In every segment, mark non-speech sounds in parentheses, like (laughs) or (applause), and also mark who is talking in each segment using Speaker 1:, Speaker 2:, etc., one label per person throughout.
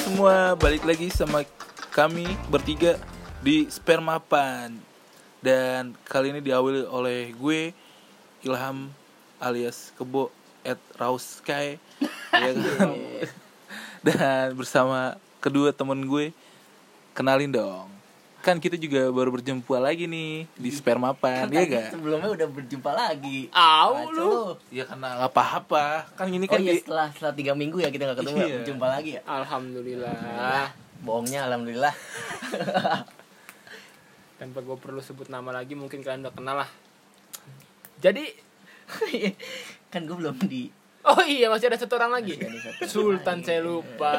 Speaker 1: semua, balik lagi sama kami bertiga di Spermapan Dan kali ini diawali oleh gue Ilham alias Kebo at
Speaker 2: (laughs)
Speaker 1: Rauskai ya kan?
Speaker 2: Iya.
Speaker 1: Dan bersama kedua temen gue Kenalin dong Kan kita juga baru berjumpa lagi nih di Spermapan, ya
Speaker 2: Kan Tadi
Speaker 1: gak?
Speaker 2: Sebelumnya udah berjumpa lagi.
Speaker 3: Au,
Speaker 2: Kacau
Speaker 3: lu.
Speaker 1: Ya karena nggak apa-apa Kan ini
Speaker 2: Oh
Speaker 1: kan
Speaker 2: iya
Speaker 1: di-
Speaker 2: setelah setelah tiga minggu ya kita nggak ketemu
Speaker 1: Iya.
Speaker 2: ya, berjumpa lagi ya.
Speaker 3: Alhamdulillah.
Speaker 2: Bohongnya alhamdulillah. (laughs)
Speaker 3: Tanpa gue perlu sebut nama lagi mungkin kalian udah kenal lah. Jadi
Speaker 2: kan gue belum di.
Speaker 3: oh iya masih ada satu orang lagi.
Speaker 2: Masih ada satu orang
Speaker 3: Sultan
Speaker 2: lagi.
Speaker 3: saya lupa.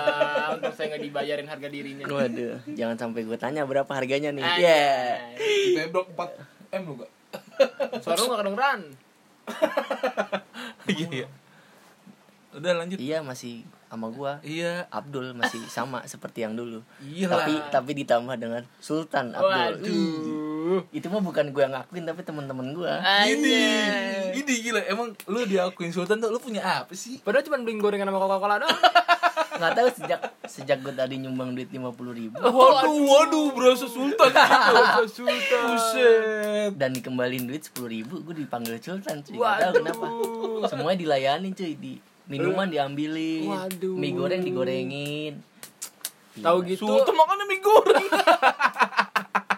Speaker 3: Untuk saya nggak dibayarin harga dirinya.
Speaker 2: Waduh, jangan sampai gue tanya berapa harganya nih.
Speaker 3: Ah,
Speaker 2: Iya.
Speaker 1: Dibeblok 4 M lu gak?
Speaker 3: Suara lu nggak kedengeran.
Speaker 1: (laughs) Iya iya. Udah lanjut
Speaker 2: Iya masih sama gue.
Speaker 1: Iya
Speaker 2: Abdul masih sama seperti yang dulu.
Speaker 1: Iyalah.
Speaker 2: Tapi tapi ditambah dengan Sultan Abdul.
Speaker 3: Waduh.
Speaker 2: Itu mah bukan gue yang ngakuin tapi teman-teman gue.
Speaker 1: Ah. Ini
Speaker 3: Anjay.
Speaker 1: Ini gila Emang lu diakuin Sultan tuh Lu punya apa sih?
Speaker 3: Padahal cuma beliin gorengan sama Coca-Cola doang.
Speaker 2: Nggak tahu sejak sejak gue tadi nyumbang duit 50.000 ribu
Speaker 1: Waduh waduh Berasa Sultan gitu
Speaker 3: Bakso Sultan.
Speaker 1: Buset
Speaker 2: dan dikembalin duit sepuluh ribu gue dipanggil sultan cuy nggak tahu
Speaker 3: Waduh.
Speaker 2: kenapa semua dilayani cuy di minuman diambilin
Speaker 3: Waduh.
Speaker 2: mie goreng digorengin
Speaker 3: Tahu gitu.
Speaker 1: Sultan makannya mie goreng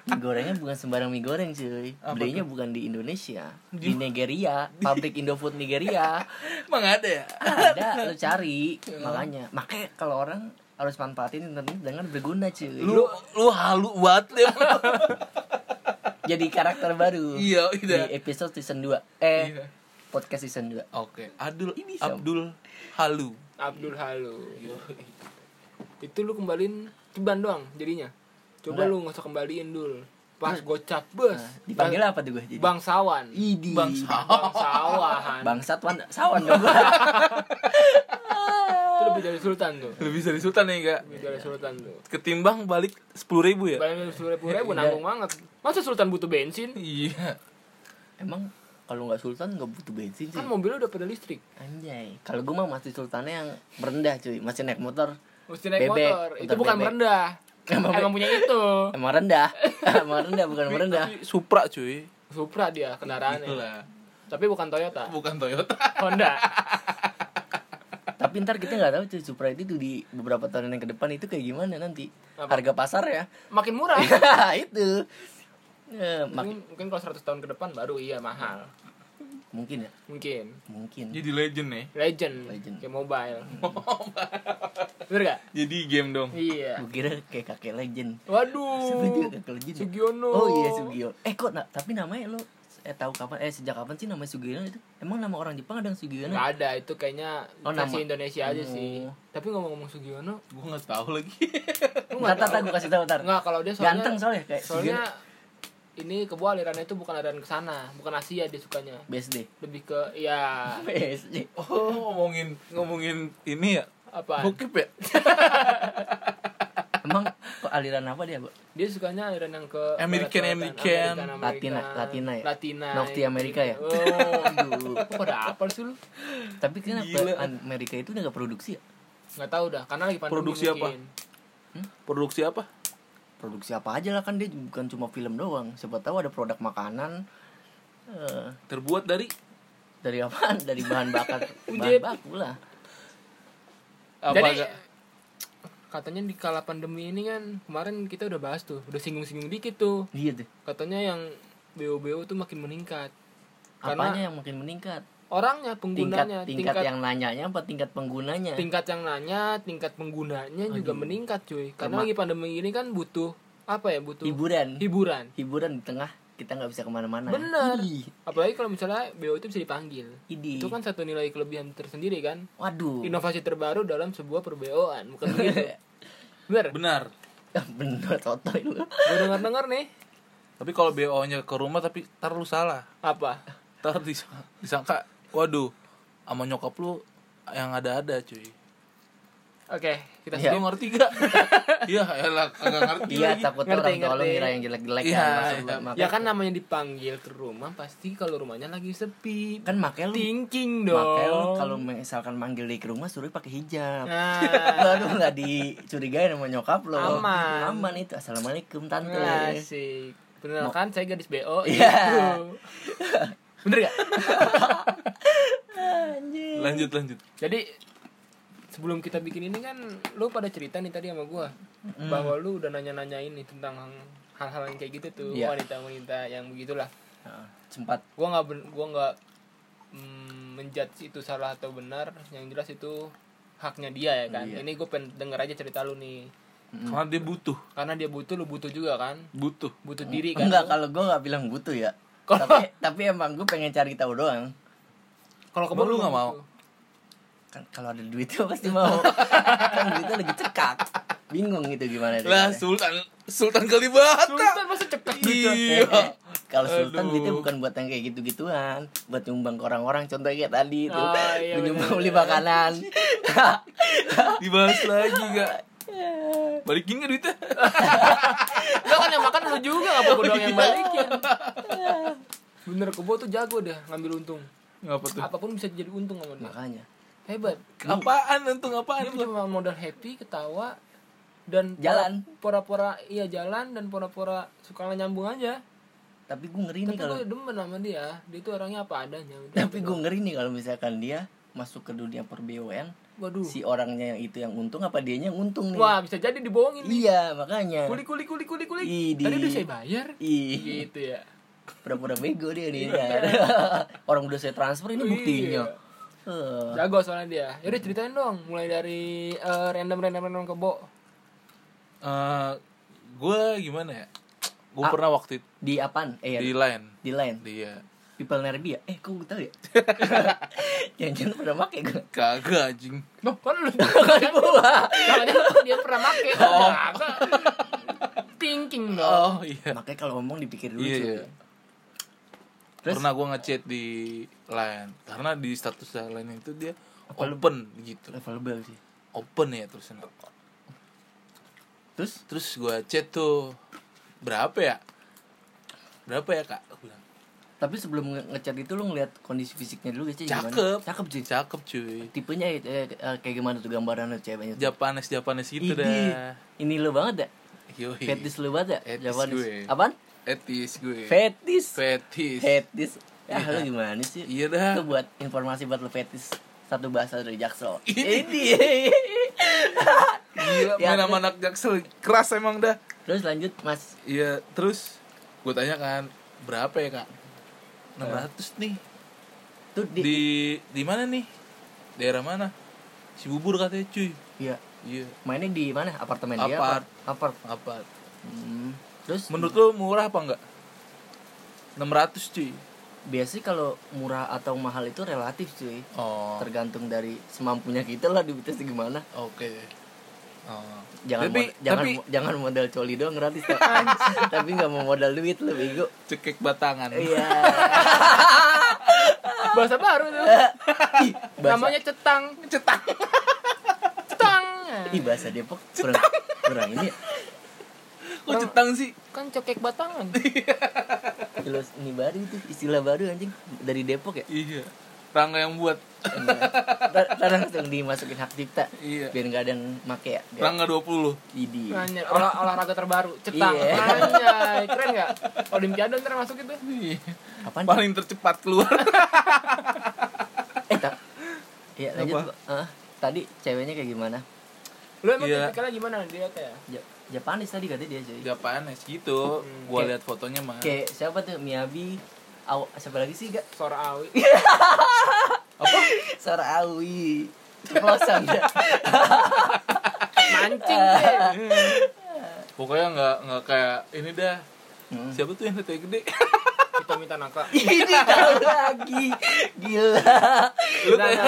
Speaker 2: mie gorengnya bukan sembarang mie goreng cuy
Speaker 1: Apa
Speaker 2: belinya bukan di Indonesia di Nigeria pabrik Indofood Nigeria
Speaker 1: Emang ada ya?
Speaker 2: ada lu cari makanya makanya kalau orang harus manfaatin internet dengan berguna cuy
Speaker 1: Lu, lu halu banget Lem.
Speaker 2: jadi karakter baru
Speaker 1: (laughs) Iya,
Speaker 2: di
Speaker 1: udah.
Speaker 2: episode season 2 eh
Speaker 1: Iya.
Speaker 2: podcast season 2
Speaker 1: Oke Abdul
Speaker 2: Ini siapa?
Speaker 1: Abdul Halu
Speaker 3: Abdul Halo. Itu lu kembaliin ceban doang jadinya.
Speaker 2: Enggak. Nah.
Speaker 3: Coba lu nggak usah kembaliin dul. Pas gocap bus.
Speaker 2: dipanggil apa tuh gue jadi
Speaker 3: Bang Sawan.
Speaker 2: Idi.
Speaker 1: Bang
Speaker 3: Bang Sawahan.
Speaker 2: Bangsat wan- sawan dong gua.
Speaker 3: Itu lebih dari Sultan tuh.
Speaker 1: Lebih dari Sultan ya gak?
Speaker 3: Lebih
Speaker 2: Iya.
Speaker 3: dari Sultan tuh.
Speaker 1: Ketimbang balik 10.000 ribu ya?
Speaker 3: Bayangin sepuluh ribu
Speaker 2: Iya.
Speaker 3: ribu nanggung banget. Masa Sultan butuh bensin?
Speaker 1: Iya
Speaker 2: Emang kalau nggak sultan nggak butuh bensin sih.
Speaker 3: Kan mobilnya udah pada listrik.
Speaker 2: Anjay. Kalau gua mah masih sultannya yang merendah cuy, masih naik motor.
Speaker 3: Mesti naik
Speaker 2: Bebek,
Speaker 3: motor. Itu
Speaker 2: motor (laughs)
Speaker 3: bukan
Speaker 2: bebek.
Speaker 3: merendah.
Speaker 2: Emang
Speaker 3: Emang punya itu.
Speaker 2: Emang rendah. Emang rendah bukan merendah.
Speaker 1: Tapi Supra cuy
Speaker 3: Supra dia
Speaker 2: Gitu
Speaker 3: kendaraannya.
Speaker 1: Itulah
Speaker 3: Tapi bukan Toyota.
Speaker 1: Bukan Toyota (laughs)
Speaker 3: Honda.
Speaker 2: Tapi ntar kita nggak tahu cuy Supra itu di beberapa tahun yang ke depan itu kayak gimana nanti.
Speaker 3: Apa?
Speaker 2: Harga pasar ya. (laughs)
Speaker 3: Makin murah.
Speaker 2: itu. Eh, mak-
Speaker 3: Mungkin, mungkin kalau 100 tahun ke depan baru iya mahal.
Speaker 2: mungkin ya.
Speaker 3: Mungkin.
Speaker 2: Mungkin.
Speaker 1: Jadi legend ya. nih
Speaker 3: Legend.
Speaker 2: Legend. Hmm.
Speaker 3: Kayak mobile. (laughs) Bener gak?
Speaker 1: Jadi game dong
Speaker 3: Iya.
Speaker 2: Gua kira kayak kakek legend.
Speaker 3: Oh,
Speaker 2: Sebenarnya
Speaker 3: Waduh.
Speaker 2: kakek legend. ya?
Speaker 3: Sugiono.
Speaker 2: Oh iya Sugio. Eh kok na- tapi namanya lo eh tahu kapan eh sejak kapan sih nama Sugiono itu? Emang nama orang Jepang ada yang Sugiono?
Speaker 3: Gak ada itu kayaknya
Speaker 2: Oh,
Speaker 3: versi
Speaker 2: nama.
Speaker 3: Indonesia aja sih.
Speaker 2: Oh.
Speaker 3: Tapi ngomong-ngomong Sugiono,
Speaker 1: Gue gak tahu lagi
Speaker 2: Entar entar gue kasih tahu ntar.
Speaker 3: Enggak, kalau dia soalnya
Speaker 2: Ganteng soalnya Eh, kayak
Speaker 3: soalnya ini kebu alirannya itu bukan aliran ke sana, bukan Asia dia sukanya.
Speaker 2: Sugiono. BSD.
Speaker 3: Lebih ke ya
Speaker 2: BSD.
Speaker 1: Oh ngomongin ngomongin ini ya
Speaker 3: apa?
Speaker 1: Bokep ya
Speaker 2: Emang kok aliran apa dia, Bu?
Speaker 3: Dia sukanya aliran yang ke
Speaker 1: American,
Speaker 3: Amerika,
Speaker 1: American.
Speaker 3: Amerika, Amerika.
Speaker 2: Latina, Latina ya.
Speaker 3: Latina.
Speaker 2: Nokti Amerika ya?
Speaker 3: Oh,
Speaker 2: Aduh.
Speaker 3: kok pada apa sih lu?
Speaker 2: Tapi
Speaker 1: Gila.
Speaker 2: kenapa Amerika itu udah gak produksi ya?
Speaker 3: Enggak tahu dah, karena lagi pandemi
Speaker 1: Produksi apa?
Speaker 3: mungkin.
Speaker 1: Produksi apa?
Speaker 2: Produksi apa aja lah kan dia bukan cuma film doang. Siapa tahu ada produk makanan eh,
Speaker 1: Terbuat dari
Speaker 2: dari apaan? Dari bahan
Speaker 3: (laughs)
Speaker 2: bakar, bahan
Speaker 3: Ujep.
Speaker 2: baku lah.
Speaker 1: apa
Speaker 3: Jadi
Speaker 1: enggak?
Speaker 3: katanya di kala pandemi ini kan kemarin kita udah bahas tuh, udah singgung-singgung dikit tuh.
Speaker 2: Iya deh.
Speaker 3: Katanya yang BO-BO tuh makin meningkat. Karena
Speaker 2: Apanya yang makin meningkat?
Speaker 3: orangnya
Speaker 2: Tingkat,
Speaker 3: penggunanya
Speaker 2: tingkat yang nanyanya apa tingkat penggunanya?
Speaker 3: tingkat yang nanya tingkat penggunanya juga meningkat cuy
Speaker 2: Lemak.
Speaker 3: karena lagi pandemi ini kan butuh apa ya butuh
Speaker 2: hiburan. Nah,
Speaker 3: hiburan
Speaker 2: hiburan di tengah kita nggak bisa kemana-mana.
Speaker 3: Bener.
Speaker 2: Ih,
Speaker 3: apalagi kalau misalnya BO itu bisa dipanggil
Speaker 2: Idi.
Speaker 3: itu kan satu nilai kelebihan tersendiri kan
Speaker 2: Waduh.
Speaker 3: inovasi terbaru dalam sebuah perbeoan bukan begitu bener
Speaker 1: Benar
Speaker 2: (laughs) Bener sotoy lu.
Speaker 3: gue dengar dengar nih
Speaker 1: Tapi kalau BO nya ke rumah tapi ntar lu salah
Speaker 3: apa
Speaker 1: Ntar dis- disangka Waduh Sama nyokap lu yang ada-ada cuy
Speaker 3: Oke, kita
Speaker 2: Iya.
Speaker 3: semua ngerti (laughs) gak?
Speaker 1: Iya, elah kagak ngerti
Speaker 2: Iya
Speaker 1: lagi.
Speaker 2: takutnya
Speaker 3: Ngerti,
Speaker 2: orang tua lo
Speaker 3: ngerti.
Speaker 2: ngira yang jelek-jelek
Speaker 1: Iya,
Speaker 2: kan maksud
Speaker 1: iya.
Speaker 2: lo. Makanya-
Speaker 3: ya kan namanya dipanggil ke rumah pasti kalau rumahnya lagi sepi.
Speaker 2: kan makanya lu
Speaker 3: thinking dong.
Speaker 2: makanya lu kalau misalkan manggil dia ke rumah suruh pakai hijab.
Speaker 3: Nah,
Speaker 2: Lalu nggak dicurigain sama nyokap lo.
Speaker 3: Aman. Iya,
Speaker 2: Aman itu. Assalamualaikum tante.
Speaker 3: asik. Bener kan saya gadis BO.
Speaker 2: Iya.
Speaker 3: gitu. Bener gak?
Speaker 1: Lanjut, lanjut.
Speaker 3: Jadi sebelum kita bikin ini kan lu pada cerita nih tadi sama gua bahwa lu udah nanya-nanya ini tentang hal-hal yang kayak gitu tuh
Speaker 2: Iya.
Speaker 3: wanita-wanita yang begitulah.
Speaker 2: Nah, Sempat
Speaker 3: Gua nggak ben- gua nggak mm, menjudge itu salah atau benar, yang jelas itu haknya dia ya kan.
Speaker 2: Iya.
Speaker 3: Ini gue pengen denger aja cerita lu nih.
Speaker 1: Karena dia butuh,
Speaker 3: Karena dia butuh lu butuh juga kan.
Speaker 1: butuh.
Speaker 3: Butuh diri kan.
Speaker 2: enggak kalau gue nggak bilang butuh ya. tapi tapi emang gue pengen cari tahu doang.
Speaker 3: Kalau
Speaker 1: Emang lu nggak mau?
Speaker 3: butuh.
Speaker 2: Kan kalau ada duit gue pasti mau. kan duitnya lagi cekak. Bingung gitu gimana deh.
Speaker 1: Lah
Speaker 2: (laughs)
Speaker 1: Sultan Sultan Kalibata.
Speaker 3: Sultan masa cepet gitu.
Speaker 1: Iya.
Speaker 2: Kalau Sultan
Speaker 1: Aduh.
Speaker 2: duitnya bukan buat yang kayak gitu-gituan, buat nyumbang ke orang-orang contohnya kayak tadi itu.
Speaker 3: Ah, iya,
Speaker 2: nyumbang
Speaker 3: bener.
Speaker 2: beli makanan.
Speaker 1: Dibahas lagi
Speaker 3: (laughs)
Speaker 1: gak? Balikin gak duitnya?
Speaker 3: Lo kan yang makan lu juga gak apa-apa doang
Speaker 1: Iya.
Speaker 3: yang balikin Bener kebo tuh jago deh ngambil untung
Speaker 1: Ngapa tuh?
Speaker 3: Apapun bisa jadi untung sama dia
Speaker 2: Makanya Ah,
Speaker 3: Hebat
Speaker 1: Apaan untung apaan?
Speaker 3: Dia cuma modal happy, ketawa Dan
Speaker 2: Jalan.
Speaker 3: pora- Pora-pora iya jalan dan pora-pora suka nyambung aja
Speaker 2: tapi gue ngeri nih
Speaker 3: Tapi
Speaker 2: kalau
Speaker 3: kan gue demen sama dia Dia tuh orangnya apa adanya udah.
Speaker 2: (laughs) tapi gue ngeri nih kalau misalkan dia masuk ke dunia per BUMN
Speaker 3: Waduh
Speaker 2: si orangnya yang itu yang untung apa dianya yang untung nih
Speaker 3: Wah bisa jadi dibohongin nih
Speaker 2: iya makanya
Speaker 3: Kulik kulik kulik kulik kulik
Speaker 2: Idi.
Speaker 3: Tadi udah saya bayar
Speaker 2: ih
Speaker 3: Gitu ya
Speaker 2: pura-pura bego dia
Speaker 3: Iya.
Speaker 2: nih kan. (laughs) orang udah saya transfer ini buktinya Eh,
Speaker 3: Jago soalnya dia Yaudah ceritain dong Mulai dari eh, random-random random kebo
Speaker 1: Eh, gue gimana ya? Gue
Speaker 2: Ah.
Speaker 1: pernah waktu itu
Speaker 2: di apaan eh
Speaker 1: di
Speaker 2: di,
Speaker 1: line
Speaker 2: lain
Speaker 1: dia
Speaker 2: people nerbi ya eh kok gue
Speaker 1: (laughs)
Speaker 2: tahu ya jangan-jangan pernah make gue
Speaker 1: kagak anjing.
Speaker 3: Loh, (laughs) kan lu
Speaker 2: kan gua
Speaker 3: Makanya dia pernah make
Speaker 2: (laughs)
Speaker 1: Oh.
Speaker 3: Apa? Thinking dong
Speaker 1: Oh iya.
Speaker 2: makanya kalau ngomong dipikir dulu
Speaker 1: Iya
Speaker 2: cuy.
Speaker 1: iya. Pernah gue ngechat di line karena di status line itu dia open gitu.
Speaker 2: levelable sih
Speaker 1: Open ya terusan.
Speaker 2: terus
Speaker 1: Terus gue chat tuh berapa ya? Berapa ya kak? Gua bilang,
Speaker 2: tapi sebelum nge- ngechat itu lu ngeliat kondisi fisiknya dulu ya cuy gimana?
Speaker 1: Cakep.
Speaker 2: cakep cuy
Speaker 1: Cakep cuy.
Speaker 2: tipenya eh, eh, kayak gimana tuh gambarannya ceweknya tuh?
Speaker 1: Japanes Japanes gitu
Speaker 2: Idi,
Speaker 1: dah.
Speaker 2: ini lu banget ya
Speaker 1: Yoi.
Speaker 2: fetis lu banget ya
Speaker 1: Fetis
Speaker 2: Japanese.
Speaker 1: gue.
Speaker 2: apaan
Speaker 1: Etis gue.
Speaker 2: fetis
Speaker 1: Fetis.
Speaker 2: fetis ah lu gimana sih
Speaker 1: Iya dah.
Speaker 2: itu buat informasi buat lu fetis satu bahasa dari jaksel
Speaker 1: (laughs) Idi.
Speaker 2: ini
Speaker 1: Gila,
Speaker 2: Ya,
Speaker 1: main sama anak jaksel keras emang dah.
Speaker 2: terus lanjut mas
Speaker 1: Iya, terus gue tanya kan, berapa ya, Kak? 600 nih.
Speaker 2: tuh
Speaker 1: Di
Speaker 2: di,
Speaker 1: di mana nih? Daerah mana? Cibubur katanya, cuy.
Speaker 2: iya
Speaker 1: Iya.
Speaker 2: mainnya di mana apartemen dia
Speaker 1: Apart.
Speaker 2: apart
Speaker 1: Apa?
Speaker 2: Hmm, terus
Speaker 1: Menurut lo murah apa enggak? 600, cuy.
Speaker 2: biasanya kalau murah atau mahal itu relatif cuy
Speaker 1: Oh.
Speaker 2: tergantung dari semampunya kita lah duitnya segimana
Speaker 1: Oke. Oh.
Speaker 2: jangan
Speaker 1: tapi
Speaker 2: mod- jangan
Speaker 1: tapi
Speaker 2: mo- jangan modal coli doang gratis
Speaker 1: (laughs)
Speaker 2: Pak. (laughs) tapi nggak mau modal duit lu bego
Speaker 1: cekek batangan.
Speaker 2: iya
Speaker 3: Bahasa baru tuh
Speaker 2: (laughs) Ih, bahasa
Speaker 3: Namanya cetang Cetang Cetang
Speaker 2: ih bahasa Depok kurang kurang ini ya.
Speaker 1: Kok cetang sih?
Speaker 3: Kan cokek batangan
Speaker 2: Terus ini baru itu istilah baru anjing dari Depok ya
Speaker 1: Iya. Rangga yang buat.
Speaker 2: Ntar ntar langsung dimasukin hak cipta
Speaker 1: Iya.
Speaker 2: biar nggak ada yang make ya biar
Speaker 1: Rangga 20.
Speaker 2: idi
Speaker 3: Anjir, olah, olahraga terbaru Cetang
Speaker 2: Iya.
Speaker 3: Anjay, keren gak? Olimpiade ntar masuk itu
Speaker 1: Iya.
Speaker 2: apaan Cik?
Speaker 1: Paling tercepat keluar.
Speaker 2: eh tak ya lanjut
Speaker 1: Apa?
Speaker 2: Pak. Ah, tadi ceweknya kayak gimana
Speaker 3: Lu emang
Speaker 1: Iya.
Speaker 3: tipikalnya gimana dia kayak?
Speaker 2: Ja- Japanis tadi katanya dia cuy
Speaker 1: Japanes gitu. Gua
Speaker 2: Hmm, Kayak-
Speaker 1: lihat fotonya mah.
Speaker 2: kayak siapa tuh Miyabi Aw, siapa lagi sih gak
Speaker 3: Sora awi
Speaker 2: Sora Awi Ceplosan ya
Speaker 3: Mancing deh
Speaker 1: Pokoknya nggak nggak kayak ini dah.
Speaker 2: Hmm.
Speaker 1: Siapa tuh yang teteh gede?
Speaker 2: (laughs)
Speaker 3: Kita minta naka
Speaker 2: Ini tahu lagi Gila
Speaker 1: lu kayak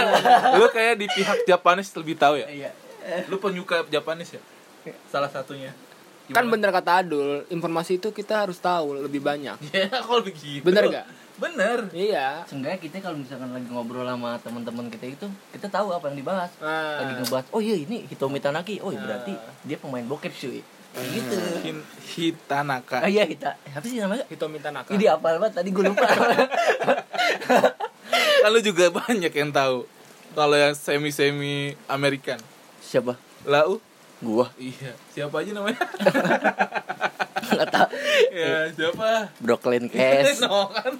Speaker 1: lu kayak di pihak Japanes lebih tahu ya.
Speaker 2: Iya
Speaker 1: Lu penyuka Japanes ya? Salah satunya.
Speaker 3: Kan bener kata Adul, informasi itu kita harus tahu lebih banyak.
Speaker 1: (laughs) ya kalau begitu
Speaker 3: Bener gak?
Speaker 1: bener
Speaker 3: Iya.
Speaker 2: Seenggaknya kita kalau misalkan lagi ngobrol sama teman-teman kita itu, kita tahu apa yang dibahas.
Speaker 3: Nah.
Speaker 2: Lagi ngebahas, oh iya ini Hitomi Tanaki, oh berarti dia pemain bokep cuy. Kayak gitu.
Speaker 1: Hin- hitanaka
Speaker 2: Ah iya Hita, apa sih namanya?
Speaker 3: Hitomi Tanaka.
Speaker 2: Ini apa banget tadi gue (laughs) lupa.
Speaker 1: Lalu Kan juga (laughs) banyak yang tahu kalau yang semi semi American.
Speaker 2: Siapa?
Speaker 1: Lau?
Speaker 2: Gua.
Speaker 1: Iya. Siapa aja namanya? (laughs)
Speaker 2: Enggak tahu. Eh.
Speaker 1: ya siapa? (laughs)
Speaker 2: Brooklyn Cash.
Speaker 1: No, kan.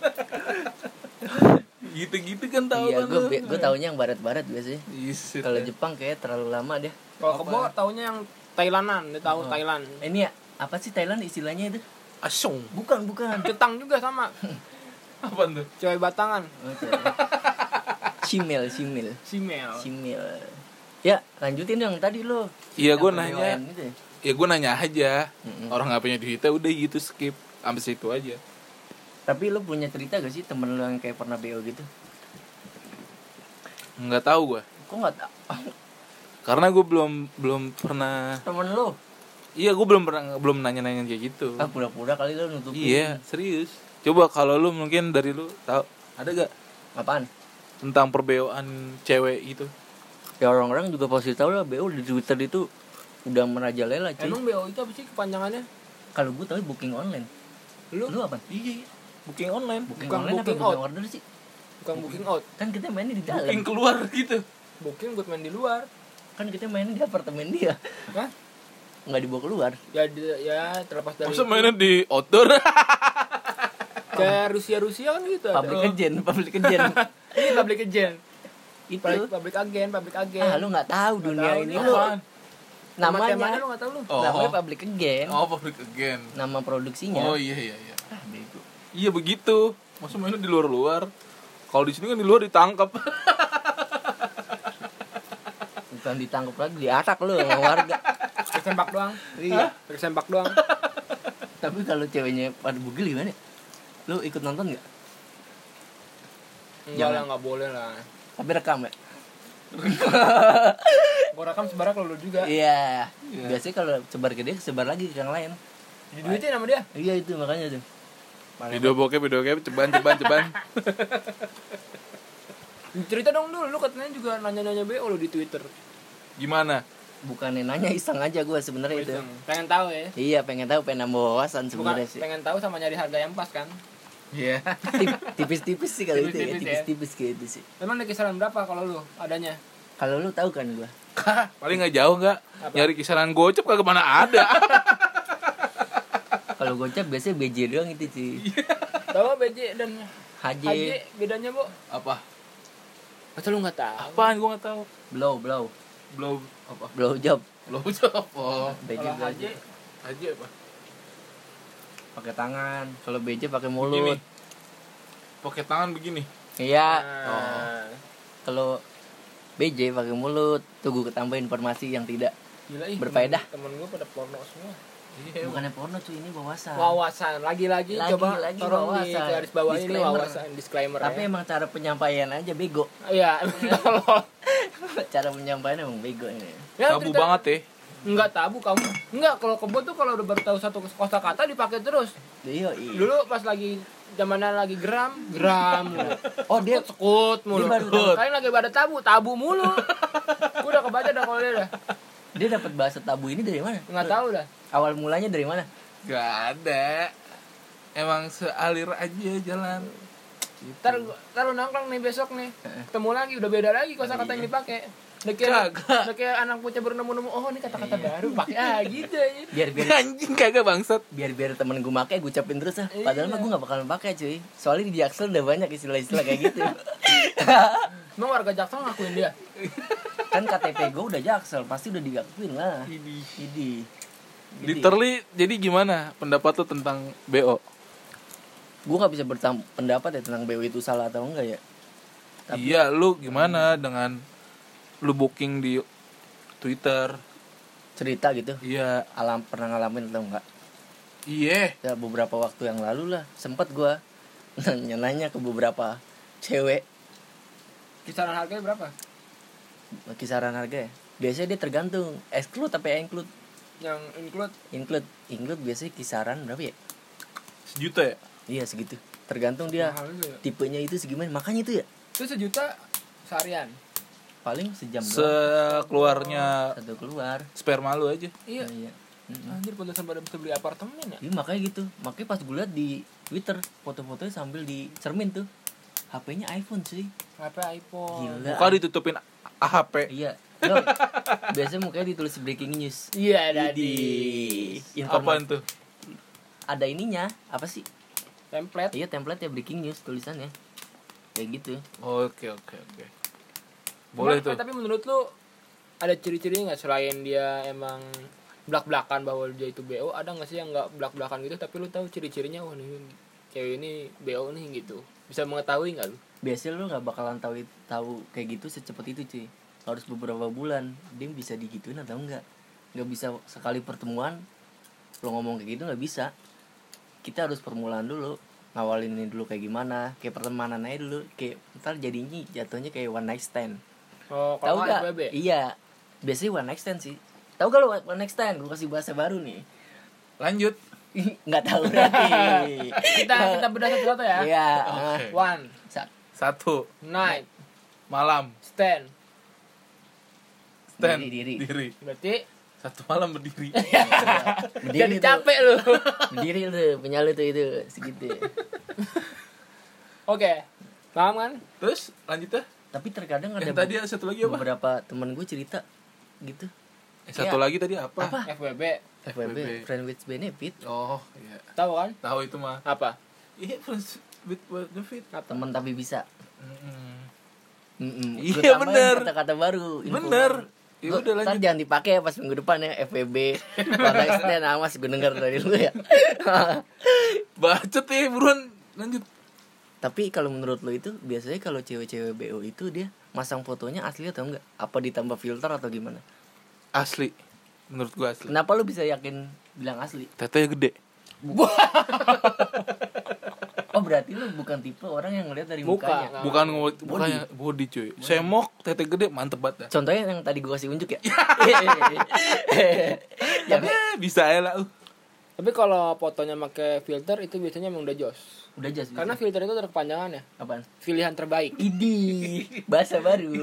Speaker 1: Gitu-gitu kan tahu kan
Speaker 2: Iya, gue
Speaker 1: lu.
Speaker 2: gue taunya yang barat-barat biasanya.
Speaker 1: Yes,
Speaker 2: Kalau
Speaker 1: itu.
Speaker 2: Jepang kayak terlalu lama deh.
Speaker 3: Kalau kebo taunya yang Thailandan, dia tahu Thailand.
Speaker 2: Ini ya, apa sih Thailand istilahnya itu?
Speaker 1: Asong.
Speaker 2: Bukan, bukan.
Speaker 3: Jepang juga sama,
Speaker 1: Apa tuh?
Speaker 3: cewek batangan.
Speaker 2: Oke. Cimil, cimil.
Speaker 3: Simel.
Speaker 2: Cimil. Ya, lanjutin yang tadi lo.
Speaker 1: Iya gue
Speaker 2: Yang
Speaker 1: nanya.
Speaker 2: perdeoan itu ya.
Speaker 1: Ya gue nanya aja.
Speaker 2: Mm-mm.
Speaker 1: Orang nggak punya duitnya udah gitu skip. Sampai situ aja.
Speaker 2: Tapi lo punya cerita gak sih temen lo yang kayak pernah BO gitu?
Speaker 1: Nggak tahu gue.
Speaker 2: Kok gak tau?
Speaker 1: Karena gue belum belum pernah.
Speaker 2: Temen lo?
Speaker 1: Iya gue belum pernah belum nanya-nanya kayak gitu.
Speaker 2: Ah, pura-pura kali lo nutupin.
Speaker 1: Iya serius. Coba kalau lu mungkin dari lu tahu ada gak
Speaker 2: Apaan?
Speaker 1: tentang perbeoan cewek gitu?
Speaker 2: Ya orang-orang juga pasti tahu lah BO di Twitter itu udah merajalela cuy.
Speaker 3: Emang BO itu apa sih kepanjangannya?
Speaker 2: Kalau gue tahu booking online.
Speaker 3: Lu?
Speaker 2: Lu apa?
Speaker 1: Iya, booking online.
Speaker 2: Booking
Speaker 3: Bukan
Speaker 2: online
Speaker 3: booking
Speaker 2: apa booking
Speaker 3: out.
Speaker 2: order sih?
Speaker 3: Bukan booking out,
Speaker 2: Kan kita mainnya di dalam.
Speaker 1: Booking keluar gitu.
Speaker 3: booking buat main di luar.
Speaker 2: Kan kita mainnya di apartemen dia.
Speaker 3: Hah?
Speaker 2: Nggak dibawa keluar.
Speaker 3: Ya, di- ya terlepas dari
Speaker 1: Masa mainnya di outdoor?
Speaker 3: kayak Rusia Rusia kan gitu. ada.
Speaker 2: Public agent, public
Speaker 3: (laughs)
Speaker 2: agent.
Speaker 3: Ini public agent,
Speaker 2: itu.
Speaker 3: public, public agent, public agent.
Speaker 2: Ah, lu nggak tahu dunia
Speaker 3: tahu
Speaker 2: ini
Speaker 3: nih.
Speaker 2: lu.
Speaker 1: Apaan?
Speaker 2: Namanya
Speaker 3: lu nggak tahu lu?
Speaker 1: Oh.
Speaker 2: namanya public again.
Speaker 1: Oh, public again.
Speaker 2: Nama produksinya.
Speaker 1: Oh iya iya iya.
Speaker 2: Ah, bego.
Speaker 1: Iya begitu. Masa mainnya di luar-luar? Kalau di sini kan di luar ditangkap.
Speaker 2: Bukan ditangkap lagi, diarak lu sama warga.
Speaker 3: Pakai sempak doang. Iya, pakai sempak doang.
Speaker 2: (laughs) Tapi kalau ceweknya pada bugil gimana? Lu ikut nonton nggak?
Speaker 3: Enggak lah, enggak boleh lah.
Speaker 2: Tapi rekam ya?
Speaker 3: Gua rekam sebarak lo juga.
Speaker 2: Iya. Biasanya kalau sebar ke dia, sebar lagi ke yang lain.
Speaker 3: Diduitin sama dia.
Speaker 2: Iya itu makanya tuh.
Speaker 1: video bokep, video bokep, ceban, ceban, (laughs) ceban.
Speaker 3: Cerita dong lu, lu katanya juga nanya-nanya BO lu di Twitter.
Speaker 1: Gimana?
Speaker 2: Bukannya nanya iseng aja gue sebenarnya itu.
Speaker 3: Iseng. Pengen tahu ya.
Speaker 2: Iya pengen tahu pengen nambah wawasan
Speaker 3: Bukan
Speaker 2: sebenarnya sih.
Speaker 3: pengen tahu sama nyari harga yang pas kan.
Speaker 1: Iya.
Speaker 2: (laughs) Tip- Tipis-tipis sih kalau itu ya,
Speaker 3: Tipis-tipis ya.
Speaker 2: tipis-tipis kayak gitu sih.
Speaker 3: Emang di kisaran berapa kalau lu adanya?
Speaker 2: Kalau lu tahu kan gua.
Speaker 1: Paling nggak jauh nggak? Nyari kisaran gocep kagak mana (laughs) ada.
Speaker 2: Kalau gocap biasanya BJ doang itu sih.
Speaker 3: Iya. Tahu nggak BJ dan
Speaker 2: HJ,
Speaker 3: HJ bedanya, Bu?
Speaker 1: Apa?
Speaker 3: Masa lu enggak tahu?
Speaker 1: Apaan gua nggak tahu.
Speaker 2: blow, blow,
Speaker 1: Belum apa?
Speaker 2: blow job.
Speaker 1: Belum (laughs) apa?
Speaker 2: BJ
Speaker 3: Kalau
Speaker 2: blow
Speaker 3: HJ
Speaker 2: job.
Speaker 1: Aja apa?
Speaker 2: pakai tangan. Kalau BJ pakai
Speaker 1: Gini.
Speaker 2: mulut.
Speaker 1: Pakai tangan begini.
Speaker 2: Iya,
Speaker 3: Nah,
Speaker 2: kalau BJ pakai mulut. Tunggu ketambah informasi yang tidak
Speaker 3: Gila ih.
Speaker 2: Berfaedah.
Speaker 3: Temen gue pada porno semua. Iya.
Speaker 2: bukannya porno cuy ini wawasan.
Speaker 3: Wawasan lagi-lagi
Speaker 2: Ah. Lagi-
Speaker 3: coba
Speaker 2: lagi
Speaker 3: tolong di
Speaker 2: wawasan.
Speaker 3: garis bawah ini
Speaker 2: Disclaimer.
Speaker 3: wawasan disclaimer
Speaker 2: Tapi
Speaker 3: ya.
Speaker 2: emang cara penyampaian aja bego. (laughs)
Speaker 3: Iya, (laughs) emang tolong.
Speaker 2: cara penyampaian emang bego ini.
Speaker 3: Ya,
Speaker 1: Tabu
Speaker 3: cerita-
Speaker 1: banget ya.
Speaker 3: Enggak tabu kamu. Enggak, kalau kebo tuh kalau udah baru tahu satu kosa kata dipakai terus.
Speaker 2: Iya, iya.
Speaker 3: Dulu pas lagi zamannya lagi geram, geram mulu.
Speaker 2: Oh dia
Speaker 3: Sekut mulu.
Speaker 2: Dia baru
Speaker 3: Sekut.
Speaker 2: tahu.
Speaker 3: Kalian lagi pada tabu, tabu mulu. Gua udah kebaca dah kalau dia dah.
Speaker 2: dia dapat bahasa tabu ini dari mana?
Speaker 3: Enggak tahu dah.
Speaker 2: Awal mulanya dari mana?
Speaker 1: Gak ada. Emang sealir aja jalan.
Speaker 3: Ntar, ntar lu nongkrong nih besok nih. Ketemu lagi udah beda lagi kosa kata yang dipakai. Udah kayak,
Speaker 1: Kagak.
Speaker 3: udah kayak anak bocah baru nemu-nemu, oh ini kata-kata baru pakai ah gitu ya.
Speaker 2: Biar biar
Speaker 1: (laughs) Anjing kagak bangsat.
Speaker 2: biar biar temen gue make gue ucapin terus ah
Speaker 3: Iya.
Speaker 2: padahal mah gue gak bakalan pakai cuy soalnya di Jaksel udah banyak istilah-istilah kayak
Speaker 3: (laughs)
Speaker 2: gitu
Speaker 3: Emang warga Jaksel ngakuin dia.
Speaker 2: kan KTP gue udah Jaksel pasti udah diakuin lah ini
Speaker 1: Di Terli jadi gimana pendapat lu tentang BO?
Speaker 2: gue gak bisa bertam pendapat ya tentang BW itu salah atau enggak ya
Speaker 1: Iya, lu gimana dengan lu booking di Twitter?
Speaker 2: cerita gitu
Speaker 1: Iya.
Speaker 2: alam pernah ngalamin atau enggak
Speaker 1: Iya.
Speaker 2: ya beberapa waktu yang lalu lah sempet (laughs) gue nanya-nanya ke beberapa cewek
Speaker 3: Kisaran harganya berapa?
Speaker 2: kisaran harga ya biasanya dia tergantung exclude tapi include
Speaker 3: yang include
Speaker 2: include include biasanya kisaran berapa ya
Speaker 1: Sejuta ya?
Speaker 2: iya segitu tergantung dia
Speaker 3: mahal juga. ya.
Speaker 2: tipenya itu segimana makanya itu ya
Speaker 3: itu sejuta seharian
Speaker 2: paling sejam doang
Speaker 1: Sekeluarnya
Speaker 2: satu keluar
Speaker 1: sperma lu aja.
Speaker 3: iya
Speaker 2: Nah, iya Mm-mm.
Speaker 3: anjir pantesan pada bisa beli apartemen ya
Speaker 2: Iya makanya gitu Makanya pas gue liat di Twitter Foto-fotonya sambil di cermin tuh HP-nya iPhone cuy
Speaker 3: HP iPhone
Speaker 2: Gila
Speaker 1: Muka ditutupin AHP.
Speaker 2: Iya Yo, Biasanya mukanya ditulis breaking news
Speaker 3: iya tadi
Speaker 1: Apaan Iya,
Speaker 2: Informasi
Speaker 1: tuh?
Speaker 2: Ada ininya Apa sih?
Speaker 3: template
Speaker 2: Iya template ya breaking news tulisannya Kayak gitu
Speaker 1: Oke oke oke. Boleh
Speaker 3: Cuma,
Speaker 1: tuh.
Speaker 3: eh, tapi menurut lu ada ciri-cirinya nggak selain dia emang belak-belakan bahwa dia itu BO ada nggak sih yang nggak belak-belakan gitu tapi lu tahu ciri-cirinya wah nih cewek ini BO nih gitu bisa mengetahui nggak lu
Speaker 2: Biasanya lu gak bakalan tahu tahu kayak gitu secepat itu cuy Harus beberapa bulan Dia bisa digituin atau enggak Gak bisa sekali pertemuan Lu ngomong kayak gitu gak bisa Kita harus permulaan dulu Ngawalin ini dulu kayak gimana Kayak pertemanan aja dulu Kayak ntar jadinya jatuhnya kayak one night stand
Speaker 3: oh
Speaker 2: Tahu
Speaker 3: kalau
Speaker 2: gak?
Speaker 3: nggak FWB
Speaker 2: Iya Biasanya one night stand sih Tahu gak lu one night stand? Gue kasih bahasa baru nih (laughs)
Speaker 1: Lanjut.
Speaker 2: nggak tahu
Speaker 3: (laughs)
Speaker 2: berarti
Speaker 3: kita kita bedah satu-satu ya
Speaker 2: Iya ah.
Speaker 1: Oke.
Speaker 3: one
Speaker 2: Sa-
Speaker 1: Satu
Speaker 3: night
Speaker 1: malam
Speaker 3: stand
Speaker 1: stand
Speaker 2: Diri, diri.
Speaker 3: berarti
Speaker 1: Satu malam (laughs) berdiri.
Speaker 2: Berdiri
Speaker 3: jadi
Speaker 2: tuh.
Speaker 3: capek lu (laughs)
Speaker 2: Berdiri tuh punya lu tuh itu segitu.
Speaker 3: oke paham kan
Speaker 1: Terus lanjutnya
Speaker 2: Tapi terkadang ada
Speaker 1: yang tadi ada satu lagi apa? Iya,
Speaker 2: beberapa temen gue cerita gitu.
Speaker 1: Eh, Satu lagi tadi apa?
Speaker 2: Apa?
Speaker 3: FWB
Speaker 2: FWB, friend with benefit.
Speaker 1: Oh iya.
Speaker 3: tahu kan
Speaker 1: Tahu itu mah.
Speaker 3: apa
Speaker 1: Iya friends with benefit.
Speaker 2: Temen tapi bisa.
Speaker 1: Mm-mm.
Speaker 2: Mm-mm.
Speaker 1: Iya,
Speaker 2: Gua tambahin
Speaker 1: bener.
Speaker 2: Kata-kata baru. info
Speaker 1: Bener.
Speaker 2: baru.
Speaker 1: Ya
Speaker 2: Gua-
Speaker 1: udah,
Speaker 2: ntar
Speaker 1: lanjut.
Speaker 2: jangan dipakai ya pas minggu depan ya
Speaker 1: (laughs)
Speaker 2: FWB. Pada stand awas gue denger dari lu ya. (laughs)
Speaker 1: Bacot ya buruan lanjut.
Speaker 2: tapi kalau menurut lo itu biasanya kalau cewek-cewek BO itu dia masang fotonya asli atau enggak? Apa ditambah filter atau gimana?
Speaker 1: Asli. Menurut gua asli.
Speaker 2: Kenapa lu bisa yakin bilang asli?
Speaker 1: Tetenya gede.
Speaker 2: Oh berarti lu bukan tipe orang yang ngeliat dari
Speaker 3: Muka,
Speaker 2: mukanya.
Speaker 3: nggak.
Speaker 1: Bukan ngomong bukannya body cuy. Semok tete gede mantep banget dah.
Speaker 2: Contohnya yang tadi gua kasih unjuk ya. yang
Speaker 1: Tapi bisa ya lah. uh.
Speaker 3: tapi kalau fotonya pakai filter itu biasanya emang udah jos
Speaker 2: (laughs) udah jas.
Speaker 3: karena filter itu terkepanjangan ya
Speaker 2: apaan?
Speaker 3: pilihan terbaik
Speaker 2: Idi, bahasa baru.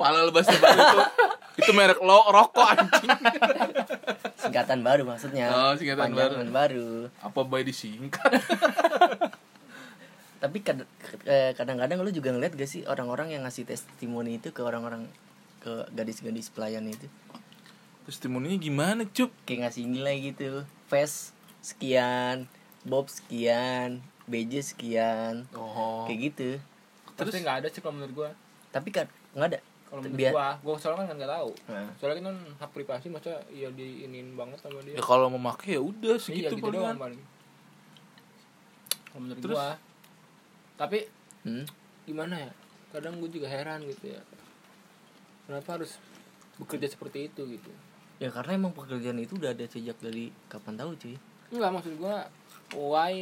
Speaker 1: Pala lebas tebal itu. itu merek lo rokok anjing.
Speaker 2: Singkatan baru maksudnya.
Speaker 1: Oh, singkatan
Speaker 2: Panjangan baru.
Speaker 1: Apa bayi disingkat?
Speaker 2: Tapi kad- eh, kadang-kadang lu juga ngeliat gak sih orang-orang yang ngasih testimoni itu ke orang-orang ke gadis-gadis pelayan itu
Speaker 1: Testimoninya gimana, Cup?
Speaker 2: kayak ngasih nilai gitu. Face sekian, Bob sekian, BJ sekian.
Speaker 1: Oh.
Speaker 2: Kayak gitu.
Speaker 3: terus nggak ada sih kalau menurut gua
Speaker 2: Tapi kan nggak ada.
Speaker 3: kalau menurut
Speaker 2: Biar-
Speaker 3: gua gua soalnya kan nggak tahu
Speaker 2: Nah.
Speaker 3: soalnya kan hak privasi maksudnya ya diinin banget sama
Speaker 1: Ya
Speaker 3: dia
Speaker 1: kalau memakai ya udah
Speaker 3: iya
Speaker 1: segitu
Speaker 3: gitu doang
Speaker 1: palingan.
Speaker 3: paling kalau menurut
Speaker 1: Terus?
Speaker 3: gua tapi
Speaker 2: Hmm.
Speaker 3: gimana ya kadang gua juga heran gitu ya kenapa harus bekerja seperti itu gitu
Speaker 2: Ya karena emang pekerjaan itu udah ada sejak dari kapan tahu cuy.
Speaker 3: Enggak maksud gua why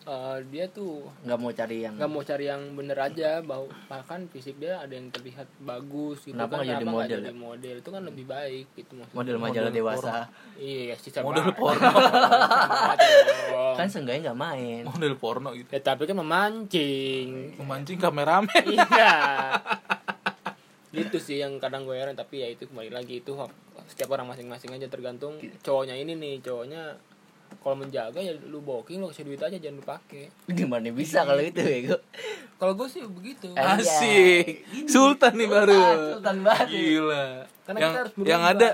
Speaker 3: eh, dia tuh
Speaker 2: Nggak mau cari yang
Speaker 3: nggak mau cari yang bener aja bahwa bahkan fisik dia ada yang terlihat bagus gitu
Speaker 2: Kenapa
Speaker 3: kan
Speaker 2: nggak jadi
Speaker 3: nggak
Speaker 2: model ya?
Speaker 3: jadi model itu kan lebih baik gitu maksud
Speaker 2: model
Speaker 3: gua.
Speaker 2: majalah dewasa.
Speaker 3: iya sisa
Speaker 1: Model
Speaker 3: banget.
Speaker 1: porno.
Speaker 2: Kan seenggaknya nggak main. (laughs)
Speaker 1: Model porno gitu.
Speaker 3: ya tapi kan memancing
Speaker 1: Memancing kameramen.
Speaker 3: iya itu sih yang kadang gue heran tapi ya itu kembali lagi itu hak setiap orang masing-masing aja tergantung
Speaker 2: Gitu.
Speaker 3: cowoknya ini nih cowoknya kalau menjaga ya lu booking lu kasih duit aja jangan lu pakai
Speaker 2: Gimana bisa kalau itu bego?
Speaker 3: kalau gue sih begitu
Speaker 2: Eh, Anjay.
Speaker 1: Asik. Sultan nih baru.
Speaker 2: Ah, Sultan baru.
Speaker 1: Gila.
Speaker 3: Karena
Speaker 1: yang
Speaker 3: kita harus berubah.
Speaker 1: yang ada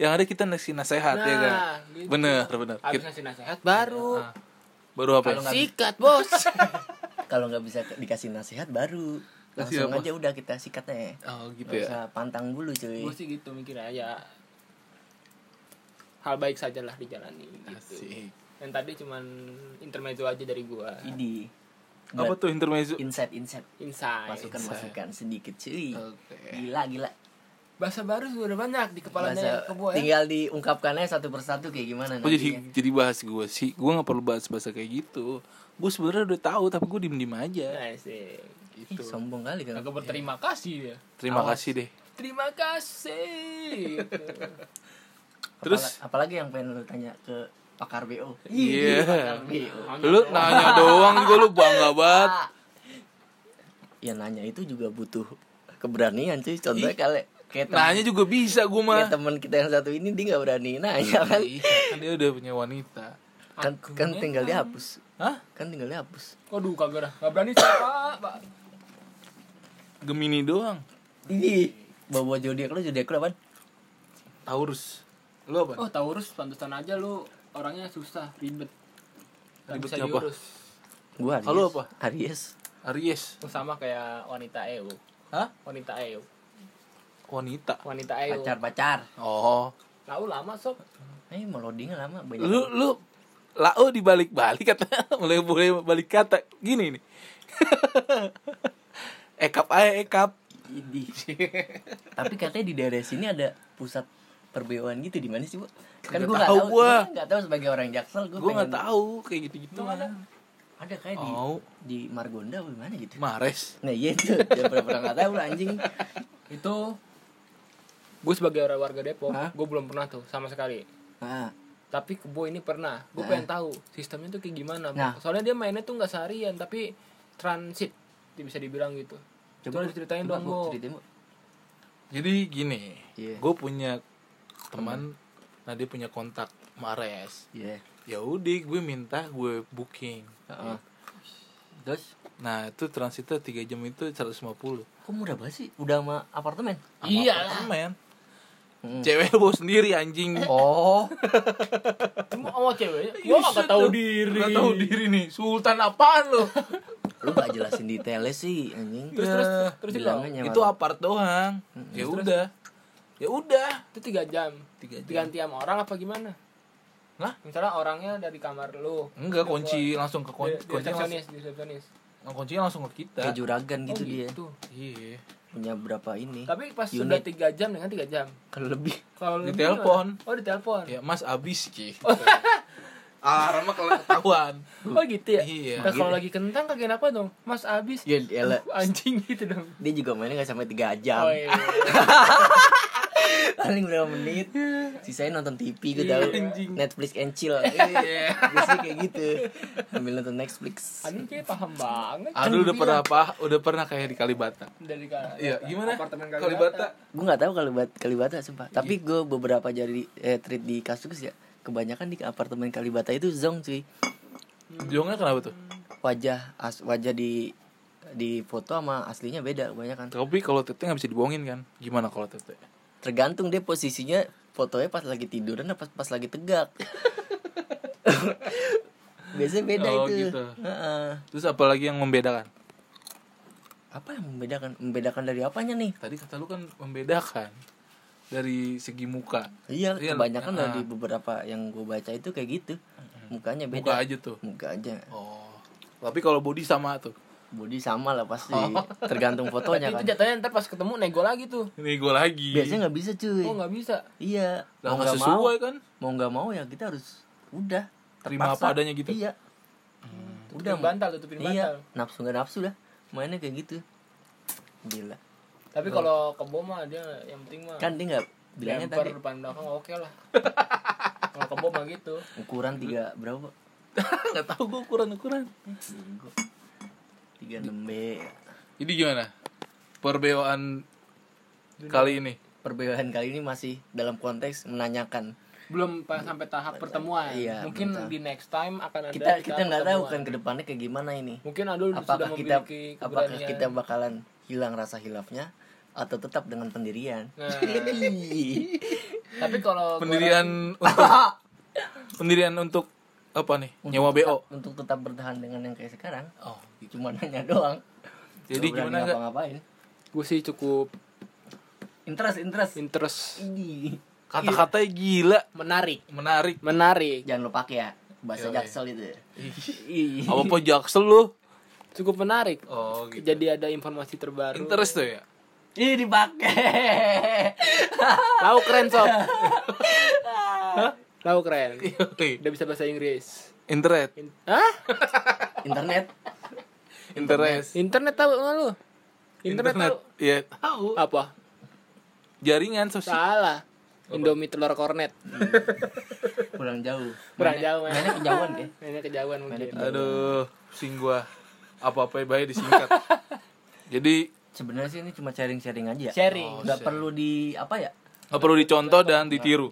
Speaker 1: yang ada kita ngasih nasehat ya kan.
Speaker 3: gitu.
Speaker 1: Bener, bener.
Speaker 3: Abis
Speaker 1: Kita-
Speaker 3: ngasih nasihat baru
Speaker 1: Ah. baru apa? ya?
Speaker 3: sikat bos
Speaker 2: Kalau nggak bisa ke- dikasih nasihat baru
Speaker 1: Kasih
Speaker 2: langsung
Speaker 1: apa?
Speaker 2: aja udah kita sikatnya.
Speaker 1: Oh, gitu
Speaker 2: Nggak
Speaker 1: ya.
Speaker 2: usah pantang dulu cuy.
Speaker 3: gue sih gitu mikirnya ya hal baik sajalah dijalani gitu
Speaker 1: Asik.
Speaker 3: yang tadi cuman intermezzo aja dari gua
Speaker 2: Idi.
Speaker 1: Apa tuh intermezzo?
Speaker 2: Insight insight.
Speaker 3: insight
Speaker 2: Masukan masukan sedikit cuy.
Speaker 1: Oke.
Speaker 2: Gila gila.
Speaker 3: bahasa baru sudah banyak di kepalanya
Speaker 2: Bahasa-
Speaker 3: kebo ya
Speaker 2: tinggal diungkapkannya satu persatu kayak gimana
Speaker 1: Kok jadi
Speaker 2: nantinya.
Speaker 1: jadi bahas gue sih? Gue nggak perlu bahas bahasa kayak gitu. Gue sebenarnya udah tahu tapi gue diem diem aja.
Speaker 3: Nah, sih
Speaker 2: Ih,
Speaker 1: gitu.
Speaker 2: sombong kali kan.
Speaker 3: kagak berterima kasih ya
Speaker 1: Terima kasih deh.
Speaker 3: terima kasih gitu.
Speaker 1: Terus?
Speaker 2: Apala- apalagi yang pengen lu tanya ke pakar BO
Speaker 1: Iya.
Speaker 2: pakar BO
Speaker 1: Lu nanya doang juga lu bangga banget.
Speaker 2: ya nanya itu juga butuh keberanian cuy contohnya kali kayak tem-
Speaker 1: Nanya juga bisa gue Nah, mah.
Speaker 2: kayak teman kita yang satu ini dia nggak berani nanya kan
Speaker 1: Ih, Kan dia udah punya wanita.
Speaker 2: kan, kan tinggal dihapus
Speaker 1: Hah?
Speaker 2: kan tinggal dihapus
Speaker 3: Waduh kagak dah. Gak berani siapa, Pak.
Speaker 1: Gemini doang.
Speaker 2: ih bawa zodiak lu zodiak lu apaan?
Speaker 1: Taurus. Lu apa?
Speaker 3: Oh, Taurus pantesan aja lu orangnya susah, ribet. Gak
Speaker 1: Ribet
Speaker 3: bisa
Speaker 1: siapa?
Speaker 3: diurus.
Speaker 2: gua Aries
Speaker 1: Kalau apa?
Speaker 2: Aries
Speaker 1: Aries.
Speaker 3: Lu sama kayak wanita EU.
Speaker 1: Hah?
Speaker 3: Wanita EU.
Speaker 1: Wanita.
Speaker 3: Wanita EU.
Speaker 2: pacar pacar
Speaker 1: Oh.
Speaker 3: Tahu lama sob.
Speaker 2: eh mau loadingnya lama banyak
Speaker 1: Lu lu lau dibalik balik kata (laughs) mulai boleh balik kata gini nih. (laughs) ekap aja ekap.
Speaker 2: Idih. tapi katanya di daerah sini ada pusat perbeoan gitu di mana sih bu kan
Speaker 1: Nggak
Speaker 2: gua nggak
Speaker 1: tahu
Speaker 2: tahu
Speaker 1: gua.
Speaker 2: gua nggak tahu sebagai orang jaksel gua,
Speaker 1: Gue nggak
Speaker 2: pengen-
Speaker 1: tahu kayak gitu gitu ada.
Speaker 2: ada kayak di
Speaker 1: Oh.
Speaker 2: di Margonda apa di mana gitu
Speaker 1: Mares.
Speaker 2: nah iya itu dia pernah nggak tahu lah, anjing
Speaker 3: Itu gue sebagai orang warga Depok,
Speaker 2: Hah?
Speaker 3: gue belum pernah tuh sama sekali.
Speaker 2: nah,
Speaker 3: Tapi kebo ini pernah. Gue pengen tahu sistemnya tuh kayak gimana.
Speaker 2: Nah.
Speaker 3: Soalnya dia mainnya tuh nggak seharian, tapi transit dia bisa dibilang gitu. Coba lu ceritain
Speaker 2: coba
Speaker 3: dong,
Speaker 2: Bu,
Speaker 3: Bo.
Speaker 2: ceritain bu
Speaker 1: Jadi gini,
Speaker 2: Iya.
Speaker 1: gue punya teman, nah dia punya kontak Mares.
Speaker 2: iya
Speaker 1: Ya udah, gue minta gue booking.
Speaker 2: Heeh. terus
Speaker 1: Nah itu transitnya 3 jam itu 150
Speaker 2: kok murah banget sih udah sama apartemen
Speaker 3: Iya lah.
Speaker 1: Apartemen
Speaker 2: Hmm.
Speaker 1: Cewek lu bawa sendiri anjing (laughs)
Speaker 2: oh
Speaker 3: Cuma oh
Speaker 2: (laughs)
Speaker 3: ceweknya, gue
Speaker 2: Iya,
Speaker 3: nggak tahu diri.
Speaker 1: Gak tahu diri nih Sultan apaan lu
Speaker 2: lu gak jelasin detailnya sih anjing
Speaker 3: (laughs) Terus terus
Speaker 1: Ya,
Speaker 3: terus itu
Speaker 2: bilangnya Hmm, nyewa
Speaker 1: Itu apart doang Ya udah Ya udah
Speaker 3: itu tiga jam.
Speaker 1: Tiga jam.
Speaker 3: Diganti sama orang apa gimana?
Speaker 1: Lah?
Speaker 3: Misalnya orangnya dari kamar lu.
Speaker 2: Hmm.
Speaker 1: Enggak kunci langsung ke kunci
Speaker 3: Di, di
Speaker 1: kunci langsung,
Speaker 3: resepsionis, di resepsionis.
Speaker 1: kunci langsung ke kita
Speaker 2: kayak juragan gitu dia
Speaker 3: Gitu.
Speaker 1: Iya
Speaker 2: punya berapa ini
Speaker 3: Tapi pas
Speaker 2: Unit.
Speaker 3: sudah tiga jam dengan tiga jam.
Speaker 2: kalau lebih (laughs)
Speaker 3: Kalau lu
Speaker 1: Ditelepon.
Speaker 3: gimana? Oh, ditelepon.
Speaker 1: Ya
Speaker 2: Iya.
Speaker 1: mas abis
Speaker 3: (laughs)
Speaker 1: Ki
Speaker 3: Ah,
Speaker 1: Alarm mah kalau ketahuan
Speaker 3: Oh gitu ya?
Speaker 1: Iya.
Speaker 3: Nah, kalau lagi kentang kagak apa dong? Mas abis
Speaker 2: ya elah.
Speaker 3: (laughs) anjing gitu dong.
Speaker 2: dia juga mainnya gak sampai 3 jam
Speaker 3: Oh, iya.
Speaker 2: (laughs) paling berapa menit sisanya nonton TV gue
Speaker 3: Iya,
Speaker 2: tau
Speaker 1: anjing.
Speaker 2: Netflix and chill Iya, biasanya kayak
Speaker 3: (laughs)
Speaker 2: gitu ambil nonton Netflix
Speaker 3: Anjing kayak paham banget.
Speaker 1: Aduh udah pernah apa Udah pernah kayak di Kalibata
Speaker 3: Dari kala.
Speaker 1: Iya gimana
Speaker 3: Apartemen
Speaker 1: Kalibata
Speaker 2: gue nggak tahu Kalibata Kalibata sumpah
Speaker 3: Iya.
Speaker 2: tapi gue beberapa jadi eh, treat di kasus ya kebanyakan di apartemen Kalibata itu zong cuy
Speaker 1: Jongnya kenapa tuh
Speaker 2: wajah as, wajah di di foto sama aslinya beda kan. kebanyakan
Speaker 1: Tapi kalau tete nggak bisa dibohongin kan? Gimana kalau tete?
Speaker 2: tergantung dia posisinya fotonya pas lagi tiduran apa pas lagi tegak (laughs) biasanya beda
Speaker 1: Oh,
Speaker 2: itu
Speaker 1: gitu.
Speaker 2: Heeh.
Speaker 1: Terus apalagi yang membedakan?
Speaker 2: apa yang membedakan membedakan dari apanya nih
Speaker 1: Tadi kata lu kan membedakan dari segi muka.
Speaker 2: iya
Speaker 1: Iya,
Speaker 2: kebanyakan
Speaker 1: ah.
Speaker 2: lah di beberapa yang gue baca itu kayak gitu mukanya
Speaker 1: Muka
Speaker 2: beda
Speaker 1: aja tuh.
Speaker 2: muka aja
Speaker 1: Oh. Tapi kalau body sama tuh.
Speaker 2: body sama lah pasti
Speaker 1: Oh.
Speaker 2: tergantung fotonya kan
Speaker 3: Itu jatuhnya ntar pas ketemu nego lagi tuh.
Speaker 1: Ini gue lagi.
Speaker 2: biasanya nggak bisa cuy
Speaker 3: Oh nggak bisa.
Speaker 2: iya
Speaker 1: Lah,
Speaker 2: mau
Speaker 1: nggak
Speaker 2: nggak mau
Speaker 1: sesuai kan?
Speaker 2: mau nggak mau ya kita harus udah
Speaker 1: Terima
Speaker 2: terpaksa.
Speaker 1: apa adanya gitu?
Speaker 2: iya
Speaker 3: Udah bantal tutupin bantal.
Speaker 2: iya nafsu nggak nafsu lah mainnya kayak gitu gila
Speaker 3: Ah. Tapi kalau kebo mah dia yang penting mah
Speaker 2: kan dia nggak bilangnya
Speaker 3: bumper
Speaker 2: tadi
Speaker 3: depan belakang oke lah. kalau kebo mah gitu.
Speaker 2: ukuran tiga berapa
Speaker 1: Ah, Nggak tahu gue ukuran-ukuran.
Speaker 2: tiga enam b
Speaker 1: Jadi gimana? Perbeoan kali ini.
Speaker 2: perbedaan kali ini masih dalam konteks menanyakan
Speaker 3: Belum pa- sampai tahap pertemuan.
Speaker 2: Iya,
Speaker 3: Mungkin
Speaker 2: belum
Speaker 3: di next time akan ada
Speaker 2: kita kita
Speaker 3: tahap
Speaker 2: nggak tahu
Speaker 3: pertemuan.
Speaker 2: kan kedepannya kayak gimana ini
Speaker 3: Mungkin Adul sudah
Speaker 2: apakah kita
Speaker 3: memiliki
Speaker 2: apakah
Speaker 3: keberanian.
Speaker 2: kita bakalan hilang rasa hilafnya atau tetap dengan
Speaker 3: (laughs)
Speaker 2: pendirian
Speaker 3: Nah, tapi kalau gua-
Speaker 1: Pendirian
Speaker 2: (laughs)
Speaker 1: untuk pendirian untuk apa nih? Nyewa BO.
Speaker 2: untuk tetap bertahan dengan yang kayak sekarang
Speaker 1: Oh, gitu.
Speaker 2: cuma nanya doang
Speaker 1: Jadi
Speaker 2: Nggak berani
Speaker 1: gimana, Kak?
Speaker 2: ngapa-ngapain
Speaker 3: gue sih cukup
Speaker 2: interest interest
Speaker 3: interest
Speaker 2: Ini.
Speaker 1: Kata-katanya gila,
Speaker 3: menarik
Speaker 2: (laughs)
Speaker 1: menarik.
Speaker 3: menarik
Speaker 2: jangan lupa pakai ya bahasa jaksel itu Ih.
Speaker 1: Apa apa jaksel lu?
Speaker 3: cukup menarik
Speaker 1: Oh,
Speaker 2: gitu.
Speaker 3: jadi ada informasi terbaru
Speaker 1: Interest tuh ya. (laughs)
Speaker 2: Ih dipakai.
Speaker 3: lau keren sob lau keren
Speaker 1: Oke.
Speaker 3: udah bisa bahasa Inggris
Speaker 1: Internet.
Speaker 3: In- Hah?
Speaker 2: Internet
Speaker 1: Interest.
Speaker 3: internet tahu nggak lu internet, tahu
Speaker 1: Iya, tahu.
Speaker 3: apa
Speaker 1: Jaringan sosial.
Speaker 3: salah Indomie telur kornet.
Speaker 2: kurang jauh
Speaker 3: Kurang
Speaker 2: Mainnya-
Speaker 3: jauh, mainnya.
Speaker 2: mainnya kejauhan ya
Speaker 3: Mainnya kejauhan mungkin.
Speaker 1: Aduh, pusing gua. Apa-apa yang bahaya disingkat. (laughs) Jadi
Speaker 2: sebenarnya sih ini cuma sharing-sharing aja ya
Speaker 3: Sharing.
Speaker 2: nggak perlu di apa ya
Speaker 1: nggak perlu dicontoh dan ditiru.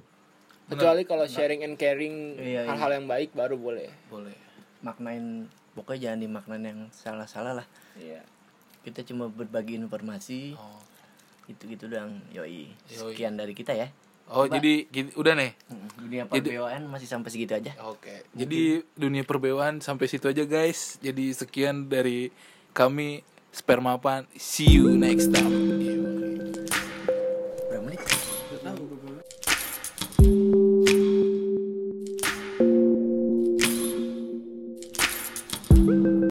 Speaker 3: Kecuali kalau sharing and caring
Speaker 2: Iya, iya.
Speaker 3: hal-hal yang baik baru boleh.
Speaker 1: Boleh.
Speaker 2: maknain pokoknya jangan dimaknain yang salah-salah lah
Speaker 3: Iya.
Speaker 2: kita cuma berbagi informasi
Speaker 1: Oh,
Speaker 2: itu gitu doang yoi
Speaker 1: Yoi.
Speaker 2: sekian dari kita ya
Speaker 1: Oh, jadi gini- udah nih.
Speaker 2: Mm, dunia perbeoan masih sampai segitu aja
Speaker 1: Oke. gitu. Jadi dunia perbewan sampai situ aja guys. Jadi sekian dari kami Spermapan. See you next time.